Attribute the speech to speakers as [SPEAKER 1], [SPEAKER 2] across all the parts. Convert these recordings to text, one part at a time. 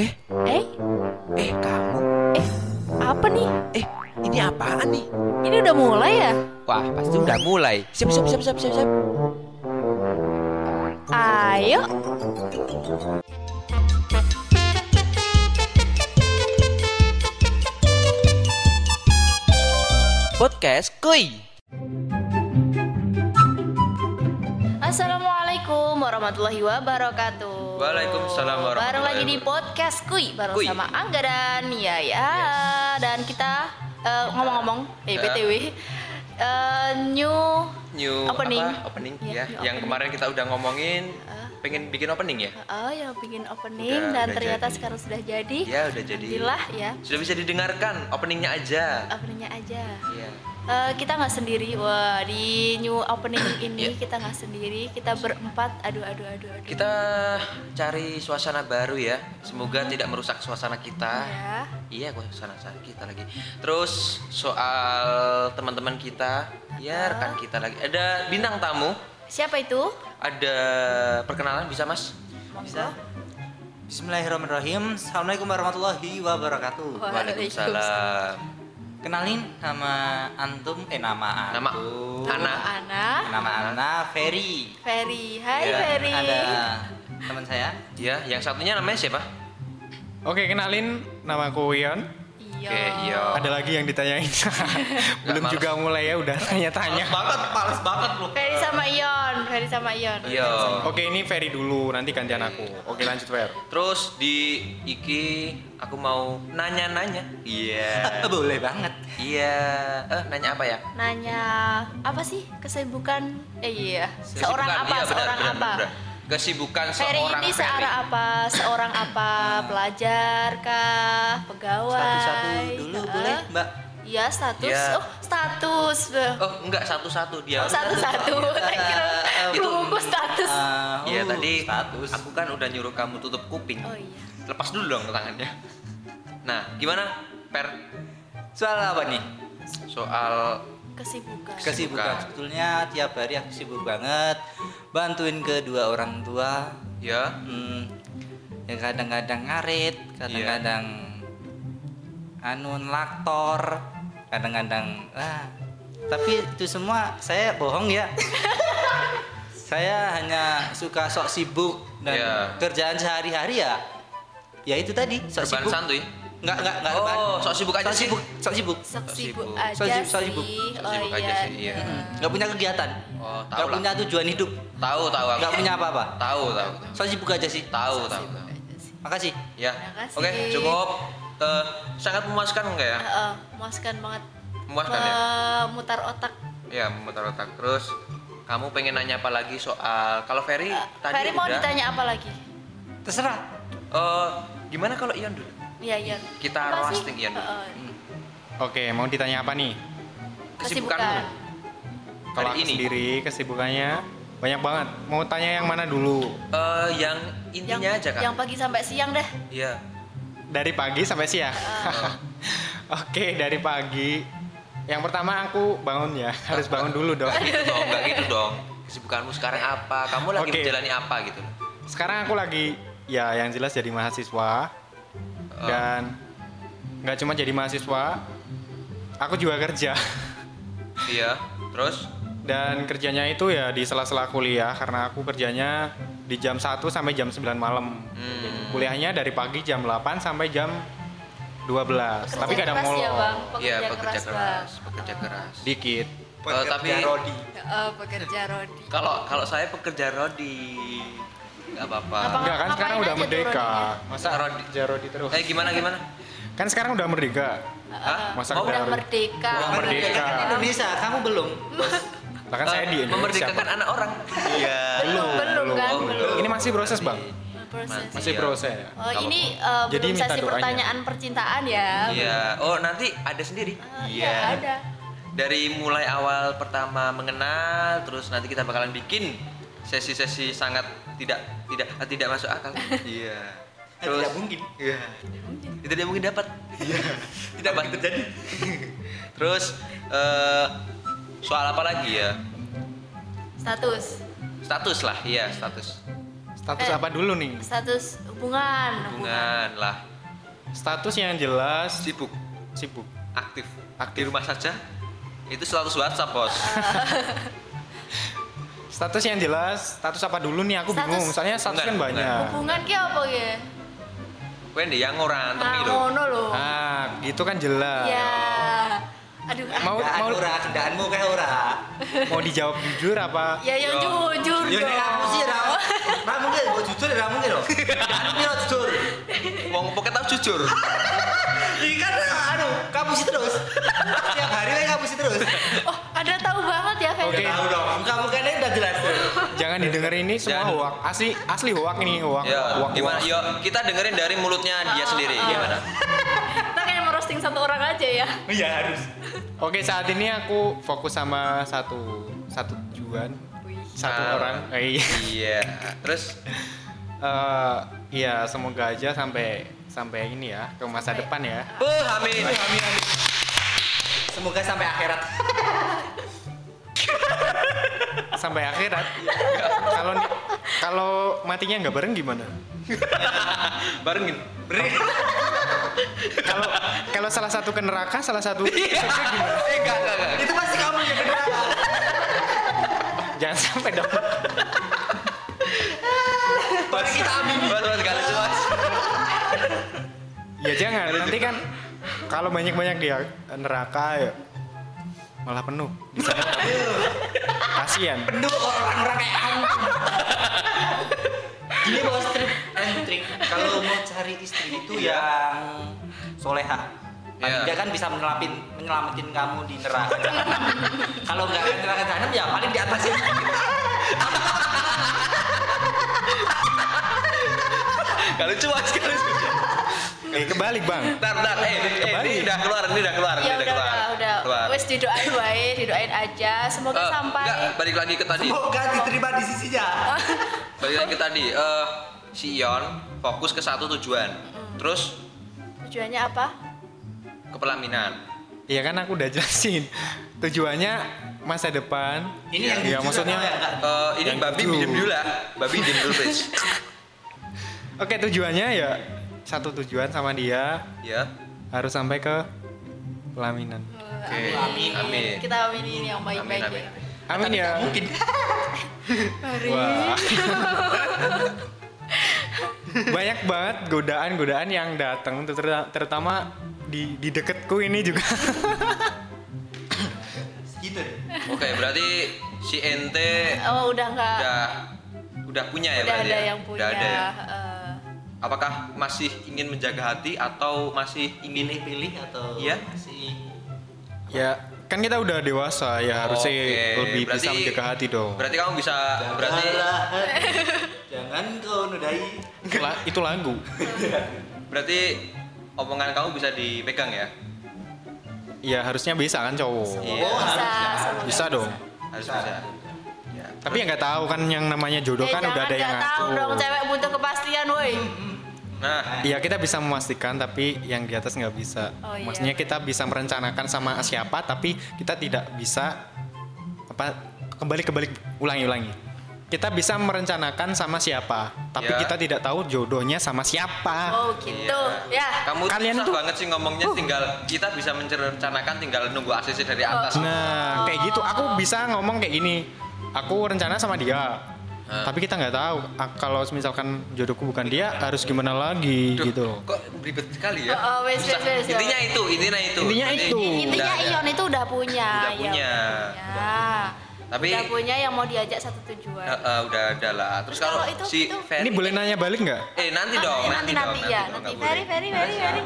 [SPEAKER 1] Eh,
[SPEAKER 2] Eh,
[SPEAKER 1] eh, apaan nih?
[SPEAKER 2] Ini udah mulai ya?
[SPEAKER 1] Wah, pasti udah mulai. Siap, siap, siap, siap, siap, siap.
[SPEAKER 2] Ayo.
[SPEAKER 1] Podcast Koi.
[SPEAKER 2] Assalamualaikum warahmatullahi wabarakatuh.
[SPEAKER 1] Waalaikumsalam warahmatullahi
[SPEAKER 2] Bareng lagi di podcast Kui bareng
[SPEAKER 1] Kui.
[SPEAKER 2] sama Angga dan Yaya
[SPEAKER 1] Yes.
[SPEAKER 2] dan kita eh, ngomong-ngomong eh
[SPEAKER 1] Ya.
[SPEAKER 2] BTW eh, new
[SPEAKER 1] New
[SPEAKER 2] Opening.
[SPEAKER 1] apa? Opening
[SPEAKER 2] Iya,
[SPEAKER 1] ya.
[SPEAKER 2] new
[SPEAKER 1] yang
[SPEAKER 2] opening.
[SPEAKER 1] kemarin kita udah ngomongin
[SPEAKER 2] Ah.
[SPEAKER 1] pengen bikin opening ya.
[SPEAKER 2] oh yang bikin opening
[SPEAKER 1] Udah-
[SPEAKER 2] dan
[SPEAKER 1] udah
[SPEAKER 2] ternyata
[SPEAKER 1] jadi.
[SPEAKER 2] sekarang sudah jadi.
[SPEAKER 1] Ya, udah jadi.
[SPEAKER 2] Alhamdulillah ya.
[SPEAKER 1] Sudah bisa didengarkan openingnya aja.
[SPEAKER 2] Openingnya aja.
[SPEAKER 1] Iya.
[SPEAKER 2] Eh, kita nggak sendiri, wah di new opening
[SPEAKER 1] Iya.
[SPEAKER 2] ini kita nggak sendiri, kita berempat, aduh aduh aduh aduh.
[SPEAKER 1] Kita cari suasana baru ya. Semoga tidak merusak suasana kita.
[SPEAKER 2] ya.
[SPEAKER 1] Iya, kok sana sana kita lagi. Terus soal teman-teman kita, ya rekan kita lagi. Ada bintang tamu,
[SPEAKER 2] Siapa itu?
[SPEAKER 1] ada perkenalan bisa mas?
[SPEAKER 2] Monggo.
[SPEAKER 3] Bismillahirrahmanirrahim. Assalamualaikum warahmatullahi wabarakatuh.
[SPEAKER 1] Waalaikumsalam.
[SPEAKER 3] Kenalin nama antum eh nama
[SPEAKER 1] Nama
[SPEAKER 3] antum.
[SPEAKER 1] Ana.
[SPEAKER 2] Ana,
[SPEAKER 3] Nama Ana Ferry.
[SPEAKER 2] Ferry. Hai
[SPEAKER 1] Ya,
[SPEAKER 2] Ferry.
[SPEAKER 3] Ada teman saya.
[SPEAKER 1] Ya, yang satunya namanya siapa?
[SPEAKER 4] Oke, kenalin nama aku Wion.
[SPEAKER 2] Iya.
[SPEAKER 1] Oke, iya.
[SPEAKER 4] Ada lagi yang ditanyain. Belum
[SPEAKER 1] males.
[SPEAKER 4] juga mulai ya udah tanya-tanya.
[SPEAKER 3] Banget, males banget lu.
[SPEAKER 2] Ferry sama Ion, Ferry sama Ion.
[SPEAKER 1] Iya.
[SPEAKER 4] Oke, ini Ferry dulu, nanti gantian aku. Oke, lanjut Fer.
[SPEAKER 1] Terus di Iki aku mau nanya-nanya. Iya.
[SPEAKER 3] Eh, boleh banget.
[SPEAKER 1] Iya. Eh, nanya apa ya?
[SPEAKER 2] Nanya apa sih kesibukan? Eh iya. Seorang
[SPEAKER 1] Kesibukan.
[SPEAKER 2] apa?
[SPEAKER 1] Iya, benar,
[SPEAKER 2] seorang
[SPEAKER 1] benar,
[SPEAKER 2] apa?
[SPEAKER 1] benar. Kesibukan
[SPEAKER 2] Ferry
[SPEAKER 1] seorang
[SPEAKER 2] ini
[SPEAKER 1] Ferry.
[SPEAKER 2] seorang apa? Seorang apa? Pelajar kah? Pegawai?
[SPEAKER 3] Satu-satu dulu
[SPEAKER 2] Eh,
[SPEAKER 3] boleh, Mbak?
[SPEAKER 2] Iya status.
[SPEAKER 1] Iya.
[SPEAKER 2] Oh status.
[SPEAKER 1] Oh, enggak satu-satu dia.
[SPEAKER 2] Oh, satu-satu.
[SPEAKER 1] Iya.
[SPEAKER 2] Saya kira
[SPEAKER 3] Eh,
[SPEAKER 1] itu-
[SPEAKER 2] kerungku status.
[SPEAKER 3] Ah,
[SPEAKER 1] Iya
[SPEAKER 3] uh,
[SPEAKER 1] tadi
[SPEAKER 3] status.
[SPEAKER 1] aku kan udah nyuruh kamu tutup kuping.
[SPEAKER 2] Oh iya.
[SPEAKER 1] Lepas dulu dong tangannya. Nah, gimana per
[SPEAKER 3] Soal apa nih?
[SPEAKER 1] soal Kesibukan.
[SPEAKER 2] Kesibukan.
[SPEAKER 3] Kesibukan. Sebetulnya tiap hari aku sibuk banget bantuin kedua orang tua
[SPEAKER 1] ya?
[SPEAKER 3] Hmm, ya kadang-kadang ngarit, kadang-kadang
[SPEAKER 1] Iya.
[SPEAKER 3] anu laktor, kadang-kadang ah. Tapi itu semua saya bohong ya. saya hanya suka sok sibuk dan
[SPEAKER 1] Iya.
[SPEAKER 3] kerjaan sehari-hari ya. Ya itu tadi, sok
[SPEAKER 1] Serban
[SPEAKER 3] sibuk.
[SPEAKER 1] santuy.
[SPEAKER 3] Enggak, enggak, enggak.
[SPEAKER 1] Oh,
[SPEAKER 3] rebahan.
[SPEAKER 1] sok sibuk aja
[SPEAKER 3] sok
[SPEAKER 1] sih.
[SPEAKER 3] sibuk, sok sibuk.
[SPEAKER 2] Sok
[SPEAKER 1] Sok
[SPEAKER 2] sibuk
[SPEAKER 1] sibuk.
[SPEAKER 2] aja
[SPEAKER 3] Sok sibuk, sok
[SPEAKER 2] sih.
[SPEAKER 3] sibuk.
[SPEAKER 1] Sok
[SPEAKER 2] Oh
[SPEAKER 1] sibuk aja
[SPEAKER 2] iya.
[SPEAKER 1] sih, iya.
[SPEAKER 3] Mm-mm. Enggak punya kegiatan.
[SPEAKER 1] Oh, tahu
[SPEAKER 3] Enggak
[SPEAKER 1] lah.
[SPEAKER 3] punya tujuan hidup.
[SPEAKER 1] Tahu tahu aku.
[SPEAKER 3] Enggak punya apa-apa.
[SPEAKER 1] Tahu tahu.
[SPEAKER 3] Sok sibuk aja sih.
[SPEAKER 1] Tahu tahu.
[SPEAKER 2] Sibuk
[SPEAKER 1] tahu.
[SPEAKER 2] aja sih.
[SPEAKER 3] Makasih.
[SPEAKER 1] Ya.
[SPEAKER 2] Makasih.
[SPEAKER 1] Oke, cukup. Eh, sangat memuaskan enggak ya?
[SPEAKER 2] Heeh, Eh, memuaskan banget.
[SPEAKER 1] Memuaskan ya?
[SPEAKER 2] Memutar otak.
[SPEAKER 1] Ya, memutar otak terus. Kamu pengen nanya apa lagi soal kalau Ferry tadi
[SPEAKER 2] Eh, Ferry mau
[SPEAKER 1] udah.
[SPEAKER 2] ditanya apa lagi?
[SPEAKER 3] Terserah.
[SPEAKER 1] Eh, gimana kalau Ion dulu?
[SPEAKER 2] Iya, iya.
[SPEAKER 1] Kita
[SPEAKER 2] Apa sih? Eh,
[SPEAKER 1] roasting iya. Hmm. Ion dulu.
[SPEAKER 2] Heeh.
[SPEAKER 4] Oke, mau ditanya apa nih?
[SPEAKER 1] Kesibukanmu.
[SPEAKER 2] Kesibukan.
[SPEAKER 1] Hari
[SPEAKER 4] Kalau aku
[SPEAKER 1] ini.
[SPEAKER 4] sendiri kesibukannya banyak banget. Mau tanya yang mana dulu?
[SPEAKER 1] Eh, yang
[SPEAKER 2] Yang,
[SPEAKER 1] intinya aja kan.
[SPEAKER 2] yang pagi sampai siang deh. Eh,
[SPEAKER 1] Iya.
[SPEAKER 4] Dari pagi sampai siang.
[SPEAKER 1] Ah.
[SPEAKER 4] Oke, dari pagi. Yang pertama aku bangun ya, harus bangun dulu dong.
[SPEAKER 1] Nggak gitu dong, nggak gitu dong. Kesibukanmu sekarang apa? Kamu lagi
[SPEAKER 4] Oke.
[SPEAKER 1] menjalani apa gitu? loh.
[SPEAKER 4] Sekarang aku lagi ya yang jelas jadi mahasiswa
[SPEAKER 1] Eh,
[SPEAKER 4] dan nggak cuma jadi mahasiswa, aku juga kerja.
[SPEAKER 1] Iya. Terus?
[SPEAKER 4] Dan kerjanya itu ya di sela-sela kuliah karena aku kerjanya di jam 1 sampai jam 9 malam.
[SPEAKER 1] Hmm.
[SPEAKER 4] Kuliahnya dari pagi jam 8 sampai jam 12. Tapi
[SPEAKER 2] Kerja
[SPEAKER 4] kadang
[SPEAKER 2] keras
[SPEAKER 4] mulu.
[SPEAKER 2] ya, Bang.
[SPEAKER 1] Iya,
[SPEAKER 2] Pekerja
[SPEAKER 1] pekerja
[SPEAKER 2] keras,
[SPEAKER 1] keras,
[SPEAKER 2] Bang.
[SPEAKER 1] pekerja keras.
[SPEAKER 4] Dikit.
[SPEAKER 1] Eh, tapi
[SPEAKER 2] Heeh, eh, pekerja Rodi.
[SPEAKER 1] kalau kalau saya pekerja rodi, nggak apa-apa.
[SPEAKER 2] Apa
[SPEAKER 4] Enggak kan
[SPEAKER 2] ngapain
[SPEAKER 4] sekarang udah
[SPEAKER 2] aja tuh
[SPEAKER 4] merdeka.
[SPEAKER 2] rodinya?
[SPEAKER 4] Masa
[SPEAKER 1] Rodi.
[SPEAKER 4] kerja rodi terus.
[SPEAKER 1] Eh gimana gimana?
[SPEAKER 4] Kan sekarang udah merdeka.
[SPEAKER 1] Hah?
[SPEAKER 4] Masa
[SPEAKER 1] Mau
[SPEAKER 4] kerja
[SPEAKER 2] Udah
[SPEAKER 4] rodi?
[SPEAKER 2] merdeka.
[SPEAKER 4] Udah merdeka.
[SPEAKER 3] Kan Indonesia, kamu belum.
[SPEAKER 4] Lah kan saya di
[SPEAKER 1] eh,
[SPEAKER 4] Indonesia.
[SPEAKER 1] memerdekakan anak orang. Iya.
[SPEAKER 2] Belum, belum kan?
[SPEAKER 1] Oh,
[SPEAKER 2] Belum.
[SPEAKER 4] Ini masih proses, Bang.
[SPEAKER 2] Proses.
[SPEAKER 4] Masih
[SPEAKER 1] Iya.
[SPEAKER 4] proses.
[SPEAKER 2] Oh,
[SPEAKER 1] Kalau-
[SPEAKER 2] ini eh,
[SPEAKER 4] Jadi
[SPEAKER 2] belum
[SPEAKER 4] minta
[SPEAKER 2] sesi
[SPEAKER 4] doanya.
[SPEAKER 2] pertanyaan percintaan ya.
[SPEAKER 1] Iya. Oh nanti ada sendiri.
[SPEAKER 2] Eh, Iya, ada.
[SPEAKER 1] Dari mulai awal pertama mengenal, terus nanti kita bakalan bikin sesi-sesi sangat tidak tidak ah, tidak masuk akal. Iya. Terus
[SPEAKER 3] Nah, Tidak mungkin.
[SPEAKER 1] Iya. Itu dia mungkin dapat. Iya. tidak bakal terjadi. terus eh, soal apa lagi ya?
[SPEAKER 2] Status.
[SPEAKER 1] Status lah, iya status.
[SPEAKER 4] Status
[SPEAKER 2] Eh.
[SPEAKER 4] apa dulu nih?
[SPEAKER 2] status hubungan
[SPEAKER 1] Hubungan lah.
[SPEAKER 4] Status yang jelas
[SPEAKER 1] Sibuk.
[SPEAKER 4] sibuk.
[SPEAKER 1] aktif.
[SPEAKER 4] Aktif.
[SPEAKER 1] Di rumah saja itu status WhatsApp, Bos.
[SPEAKER 4] Status yang jelas, status apa dulu nih aku
[SPEAKER 2] Status-
[SPEAKER 4] bingung. Soalnya status kan
[SPEAKER 1] Hubungan,
[SPEAKER 4] banyak.
[SPEAKER 2] Hubungan ki apa ya?
[SPEAKER 1] Kowe ndek yang ora antemi
[SPEAKER 2] Nah,
[SPEAKER 1] lho.
[SPEAKER 2] ngono lho.
[SPEAKER 4] Ah, gitu kan jelas.
[SPEAKER 2] Ya. Aduh.
[SPEAKER 4] Mau
[SPEAKER 3] Kendaan
[SPEAKER 4] mau
[SPEAKER 3] ora, kendaanmu kayak ora.
[SPEAKER 4] mau dijawab jujur apa?
[SPEAKER 2] Ya yang
[SPEAKER 1] Yo.
[SPEAKER 2] jujur
[SPEAKER 3] Ya nek aku sih
[SPEAKER 2] dong.
[SPEAKER 3] ra. Ra mungkin kok jujur ra mungkin loh. Kendaanmu piro jujur?
[SPEAKER 1] Wong poket tau jujur.
[SPEAKER 3] Iki kan anu, kamu sih terus. Tiap hari kayak kamu sih terus.
[SPEAKER 2] Oh, ada tahu banget ya Ferry.
[SPEAKER 4] Oke.
[SPEAKER 3] Tahu dong, kamu kan udah jelas.
[SPEAKER 4] Jangan didengar ini semua
[SPEAKER 1] Jangan.
[SPEAKER 4] hoak. Asli asli hoak ini hoak.
[SPEAKER 1] Ya,
[SPEAKER 4] hoak,
[SPEAKER 1] gimana?
[SPEAKER 4] hoak.
[SPEAKER 1] Yo, kita dengerin dari mulutnya dia
[SPEAKER 2] Ah,
[SPEAKER 1] sendiri
[SPEAKER 2] ah.
[SPEAKER 1] gimana?
[SPEAKER 2] Kita kayak merosting satu orang aja ya.
[SPEAKER 3] Iya harus.
[SPEAKER 4] Oke, saat ini aku fokus sama satu satu tujuan,
[SPEAKER 2] Wih.
[SPEAKER 4] satu
[SPEAKER 1] Ah.
[SPEAKER 4] orang. Eh, iya.
[SPEAKER 1] Iya. Terus
[SPEAKER 4] Eh, iya, semoga aja sampai sampai ini ya ke masa
[SPEAKER 2] Sampai-
[SPEAKER 4] depan ya.
[SPEAKER 1] Beuh, amin.
[SPEAKER 3] Semoga sampai akhirat.
[SPEAKER 4] Sampai akhirat. Kalau kalau matinya nggak bareng gimana?
[SPEAKER 1] Barengin.
[SPEAKER 4] Kalau kalau salah satu ke neraka, salah satu
[SPEAKER 1] Eh, enggak, enggak, enggak.
[SPEAKER 3] Itu pasti kamu yang kendaraan.
[SPEAKER 4] jangan sampai dong.
[SPEAKER 1] Bos, kita ambil. Bos, bos, enggak lucu, Bos.
[SPEAKER 4] Ya jangan, nanti kan kalau banyak-banyak dia neraka ya malah penuh di sana. Kasihan.
[SPEAKER 3] Duh, orang-orang kayak antum. Gini bos trip and trick. Kalau mau cari istri itu
[SPEAKER 1] Iya.
[SPEAKER 3] yang soleha.
[SPEAKER 1] Iya.
[SPEAKER 3] Dia kan bisa menyelapin, menyelamatin kamu di neraka. jahanam. Kalau nggak ada neraka jahanam ya paling di atas itu.
[SPEAKER 1] Enggak lucu, Bos. Enggak lucu.
[SPEAKER 4] Eh kebalik, Bang.
[SPEAKER 1] Bentar, bentar. Eh, eh, ini udah keluar, ini udah keluar, ini
[SPEAKER 2] Ya udah,
[SPEAKER 1] keluar.
[SPEAKER 2] udah, udah.
[SPEAKER 1] Keluar.
[SPEAKER 2] Wes didoain wae, didoain aja. Semoga
[SPEAKER 1] Eh,
[SPEAKER 2] sampai
[SPEAKER 1] enggak, balik lagi ke tadi.
[SPEAKER 3] Semoga diterima di sisinya.
[SPEAKER 1] Balik lagi ke tadi. Eh, si Ion fokus ke satu tujuan. Terus
[SPEAKER 2] tujuannya apa?
[SPEAKER 1] ke pelaminan.
[SPEAKER 4] Iya kan aku udah jelasin. Tujuannya masa depan.
[SPEAKER 3] Ini yang
[SPEAKER 4] Iya,
[SPEAKER 3] jujur
[SPEAKER 4] maksudnya
[SPEAKER 3] atau yang nggak?
[SPEAKER 1] Eh, ini
[SPEAKER 4] Yang
[SPEAKER 1] babi
[SPEAKER 4] tujuh.
[SPEAKER 1] minum dulu lah. Babi minum dulu, please.
[SPEAKER 4] Oke, tujuannya ya satu tujuan sama dia
[SPEAKER 1] Ya.
[SPEAKER 4] harus sampai ke pelaminan.
[SPEAKER 1] Oke.
[SPEAKER 2] Amin.
[SPEAKER 1] Amin.
[SPEAKER 2] Kita aminin yang
[SPEAKER 1] Amin,
[SPEAKER 2] baik-baik
[SPEAKER 1] amin.
[SPEAKER 2] ya.
[SPEAKER 1] amin.
[SPEAKER 4] Amin ya.
[SPEAKER 3] Mungkin.
[SPEAKER 2] Mari.
[SPEAKER 4] Wah. Banyak banget godaan-godaan yang datang ter- terutama di di deketku ini juga.
[SPEAKER 3] Gitu. deh.
[SPEAKER 1] Oke, berarti si ente
[SPEAKER 2] Oh, udah enggak
[SPEAKER 1] udah udah punya ya
[SPEAKER 2] udah
[SPEAKER 1] berarti
[SPEAKER 2] ada
[SPEAKER 1] ya?
[SPEAKER 2] yang punya.
[SPEAKER 1] Udah ada ya?
[SPEAKER 2] eh,
[SPEAKER 1] Apakah masih ingin menjaga hati atau masih ingin
[SPEAKER 3] Pilih-pilih atau
[SPEAKER 1] Iya.
[SPEAKER 3] masih
[SPEAKER 4] ya, kan kita udah dewasa ya harusnya
[SPEAKER 1] Oke,
[SPEAKER 4] lebih bisa
[SPEAKER 1] berarti-
[SPEAKER 4] menjaga hati dong.
[SPEAKER 1] Berarti kamu bisa berarti
[SPEAKER 3] Janganlah. Jangan kau nodai.
[SPEAKER 4] La- itu lagu.
[SPEAKER 1] berarti omongan kamu bisa dipegang ya?
[SPEAKER 4] Ya harusnya bisa kan cowok.
[SPEAKER 1] Iya.
[SPEAKER 3] Oh,
[SPEAKER 2] bisa,
[SPEAKER 3] harusnya.
[SPEAKER 2] semoga
[SPEAKER 4] Bisa dong.
[SPEAKER 1] Harus bisa. Ya.
[SPEAKER 4] Tapi yang nggak tahu kan yang namanya jodoh
[SPEAKER 2] Eh,
[SPEAKER 4] kan udah
[SPEAKER 2] jangan
[SPEAKER 4] ada yang
[SPEAKER 2] nggak tahu
[SPEAKER 4] ngatur.
[SPEAKER 2] dong cewek butuh kepastian, woi.
[SPEAKER 1] Hmm, Nah,
[SPEAKER 4] Iya kita bisa memastikan tapi yang di atas nggak bisa.
[SPEAKER 2] Oh, iya.
[SPEAKER 4] Maksudnya kita bisa merencanakan sama siapa tapi kita tidak bisa apa kembali kembali ulangi ulangi. Kita bisa merencanakan sama siapa tapi
[SPEAKER 1] Ya.
[SPEAKER 4] kita tidak tahu jodohnya sama siapa.
[SPEAKER 2] Oh, gitu.
[SPEAKER 1] Iya.
[SPEAKER 2] Ya.
[SPEAKER 1] Kamu
[SPEAKER 4] Kalian
[SPEAKER 1] susah
[SPEAKER 4] tuh-
[SPEAKER 1] banget sih ngomongnya tinggal kita bisa merencanakan tinggal nunggu ACC dari atas.
[SPEAKER 4] Nah kayak gitu aku bisa ngomong kayak gini. Aku rencana sama dia.
[SPEAKER 1] Ah.
[SPEAKER 4] Tapi kita nggak tahu ah, kalau misalkan jodohku bukan dia harus gimana lagi
[SPEAKER 1] Duh,
[SPEAKER 4] gitu.
[SPEAKER 1] Kok ribet sekali ya?
[SPEAKER 2] Oh, oh, wes,
[SPEAKER 1] Susah.
[SPEAKER 2] wes, wes, wes.
[SPEAKER 1] Intinya itu, intinya itu.
[SPEAKER 4] Intinya
[SPEAKER 1] Berarti
[SPEAKER 4] itu.
[SPEAKER 2] Intinya iya.
[SPEAKER 1] udah ada.
[SPEAKER 2] Ion itu udah punya.
[SPEAKER 1] Udah punya.
[SPEAKER 2] Ya.
[SPEAKER 1] Tapi-
[SPEAKER 2] udah punya yang mau diajak satu tujuan.
[SPEAKER 1] Eh, eh, udah ada lah. Terus
[SPEAKER 2] Terus
[SPEAKER 1] kalau
[SPEAKER 2] kalau itu-
[SPEAKER 1] si
[SPEAKER 2] itu-
[SPEAKER 1] Ferry
[SPEAKER 4] Ini boleh nanya balik nggak?
[SPEAKER 1] Eh nanti
[SPEAKER 2] Oh,
[SPEAKER 1] dong, dong,
[SPEAKER 2] nanti nanti, ya,
[SPEAKER 1] dong,
[SPEAKER 2] nanti.
[SPEAKER 1] nggak
[SPEAKER 2] Ferry,
[SPEAKER 1] boleh.
[SPEAKER 2] Ferry, Ferry, Ferry.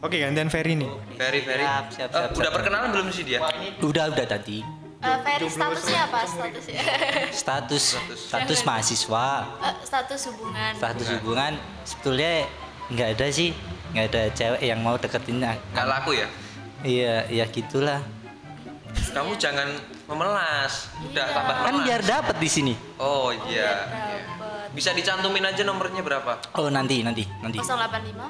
[SPEAKER 4] Oke gantian Ferry nih.
[SPEAKER 1] Ferry, Ferry.
[SPEAKER 3] Siap, siap,
[SPEAKER 1] Eh,
[SPEAKER 3] siap,
[SPEAKER 1] udah
[SPEAKER 3] siap.
[SPEAKER 1] perkenalan belum sih dia?
[SPEAKER 3] Udah, udah tadi.
[SPEAKER 2] Eh, Ferry statusnya apa? Statusnya
[SPEAKER 3] status
[SPEAKER 1] Status.
[SPEAKER 3] status mahasiswa
[SPEAKER 2] Eh, status hubungan.
[SPEAKER 3] status hubungan sebetulnya nggak ada sih nggak ada cewek yang mau deketin a-
[SPEAKER 1] Gak laku ya?
[SPEAKER 3] iya ya gitulah
[SPEAKER 1] Kamu jangan memelas. Udah
[SPEAKER 2] Iya.
[SPEAKER 1] tambah
[SPEAKER 3] kan
[SPEAKER 1] melas.
[SPEAKER 3] biar dapet di sini
[SPEAKER 1] Oh
[SPEAKER 2] Oh,
[SPEAKER 1] iya. iya.
[SPEAKER 2] biar dapet.
[SPEAKER 1] Bisa dicantumin aja nomornya berapa?
[SPEAKER 3] oh nanti nanti nanti
[SPEAKER 2] 085.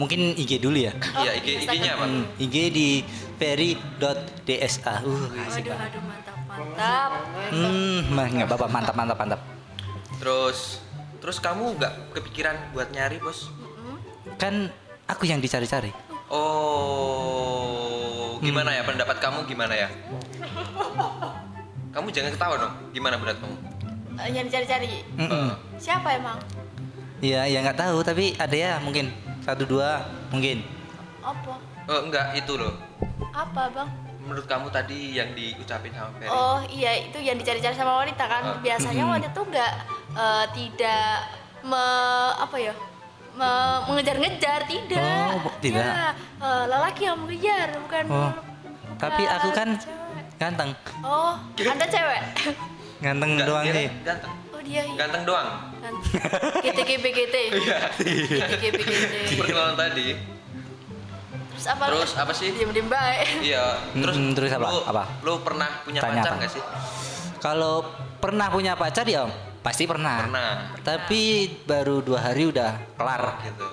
[SPEAKER 3] mungkin IG dulu ya
[SPEAKER 2] Oh,
[SPEAKER 1] Iya, IG
[SPEAKER 2] Instagram.
[SPEAKER 1] IG-nya apa?
[SPEAKER 3] Hmm, IG di ferry.dsa uh
[SPEAKER 2] Waduh,
[SPEAKER 3] asik banget.
[SPEAKER 2] aduh mantap, mantap.
[SPEAKER 3] hmm mah, nggak apa-apa mantap mantap mantap
[SPEAKER 1] Terus terus kamu nggak kepikiran buat nyari, Bos?
[SPEAKER 2] Mm-mm.
[SPEAKER 3] kan aku yang dicari-cari
[SPEAKER 1] Oh.
[SPEAKER 5] gimana ya
[SPEAKER 3] Hmm.
[SPEAKER 5] pendapat kamu gimana ya? Kamu jangan ketawa dong. Gimana pendapat kamu?
[SPEAKER 2] Eh, yang dicari-cari
[SPEAKER 3] Hmm?
[SPEAKER 2] siapa emang
[SPEAKER 3] Iya, ya nggak tahu tapi ada ya mungkin satu dua mungkin.
[SPEAKER 2] apa
[SPEAKER 5] Eh, enggak itu loh.
[SPEAKER 2] apa bang
[SPEAKER 5] Menurut kamu tadi yang diucapin sama Ferry.
[SPEAKER 2] oh iya itu yang dicari-cari sama wanita kan
[SPEAKER 3] Oh.
[SPEAKER 5] Ah.
[SPEAKER 2] biasanya
[SPEAKER 3] Mm-mm.
[SPEAKER 2] wanita tuh nggak eh, tidak me- apa ya me- mengejar-ngejar tidak
[SPEAKER 3] Oh, bu- tidak.
[SPEAKER 2] Ya, eh, lelaki yang mengejar bukan
[SPEAKER 3] Oh, tapi
[SPEAKER 2] bukan
[SPEAKER 3] aku kan-
[SPEAKER 2] cewek.
[SPEAKER 3] Ganteng,
[SPEAKER 2] oh anda cewek
[SPEAKER 3] ganteng
[SPEAKER 5] Enggak,
[SPEAKER 3] doang
[SPEAKER 5] dia kan
[SPEAKER 3] sih.
[SPEAKER 5] Ganteng.
[SPEAKER 2] oh dia iya
[SPEAKER 5] Ganteng doang.
[SPEAKER 2] kan GTGBGT
[SPEAKER 3] Iya,
[SPEAKER 2] GTGBGT
[SPEAKER 5] Perkenalan tadi.
[SPEAKER 2] terus apa
[SPEAKER 5] Terus apa sih?
[SPEAKER 2] diem-diem baik
[SPEAKER 5] Iya. Terus
[SPEAKER 3] Mm, terus apa?
[SPEAKER 5] Lu,
[SPEAKER 3] Apa?
[SPEAKER 5] lu pernah punya
[SPEAKER 3] Tanya
[SPEAKER 5] pacar
[SPEAKER 3] apa?
[SPEAKER 5] nggak sih?
[SPEAKER 3] Kalau pernah punya pacar ya pasti pernah.
[SPEAKER 5] Pernah.
[SPEAKER 3] Tapi baru dua hari udah kelar.
[SPEAKER 5] Gitu.